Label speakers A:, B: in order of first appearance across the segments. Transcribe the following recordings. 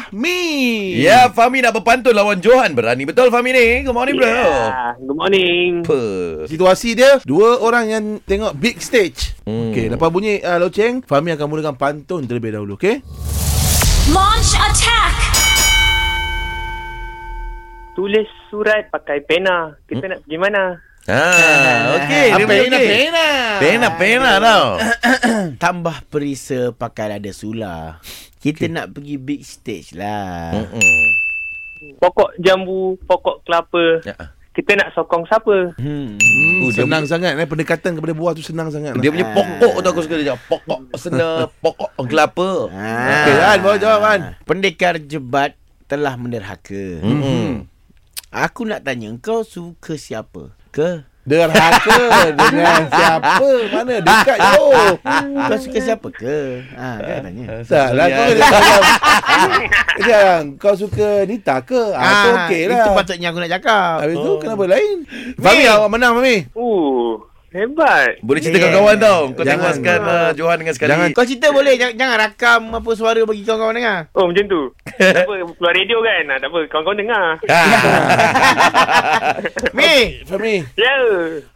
A: Fahmi.
B: Ya, Fahmi nak berpantun lawan Johan. Berani betul Fahmi ni. Good morning, bro.
C: Ya.
D: Yeah. Good morning.
B: Apa?
A: Situasi dia dua orang yang tengok big stage.
B: Hmm.
A: Hmm. Okey, lepas bunyi uh, loceng, Fahmi akan mulakan pantun terlebih dahulu, okey?
E: Launch attack!
D: Tulis surat pakai pena. Kita
B: Hmm?
D: nak pergi mana?
B: Ha, okey. dia boleh, okey.
C: pena.
B: Pena, pena tau.
C: Tambah perisa pakai ada sula. Kita okay. nak pergi big stage
A: Oh.
C: lah.
B: Mm-mm.
D: Pokok jambu, pokok kelapa.
B: Ya.
D: Kita nak sokong siapa?
C: Hmm.
B: Oh,
A: Hmm,
B: dia
A: senang sangat eh pendekatan kepada buah tu senang sangat. lah.
B: Dia
C: Ah.
B: punya pokok tu aku suka dia cakap. Pokok sena, pokok kelapa.
C: Ah.
A: Okey, Wan, bawa jawab, Wan.
C: Pendekar jebat telah menderhaka. Hmm.
B: Mm-mm.
C: Aku nak tanya kau suka siapa? Ke?
A: Derhaka dengan siapa? Mana dekat Oh. jauh. Ah.
C: Kau suka siapa ke? Ha, kan tanya.
A: Tak lah kau kena tanya. Jangan kau suka Nita ke? Ah, tu okey lah.
C: Itu patutnya aku nak cakap.
A: Habis tu kenapa lain? Fahmi awak menang Fahmi.
D: Uh, hebat.
B: Boleh cerita
C: Yeah.
B: kawan-kawan tau. Kau
A: Jangan.
B: tewaskan uh, Johan dengan sekali.
A: Jangan.
C: Kau cerita boleh ya, jangan, jangan rakam apa suara bagi kawan-kawan dengar.
D: Oh, macam tu. tak apa, keluar radio kan? Ah, tak apa, kawan-kawan dengar.
B: Ah.
C: Mi,
A: Fahmi.
D: Ya.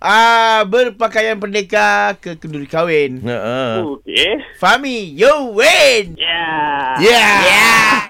C: ah berpakaian pendekar ke kenduri kahwin.
B: Ha, ha.
D: Yeah. Okey. Ya.
C: Fahmi, you win.
B: Ya,
D: Yeah.
B: Yeah.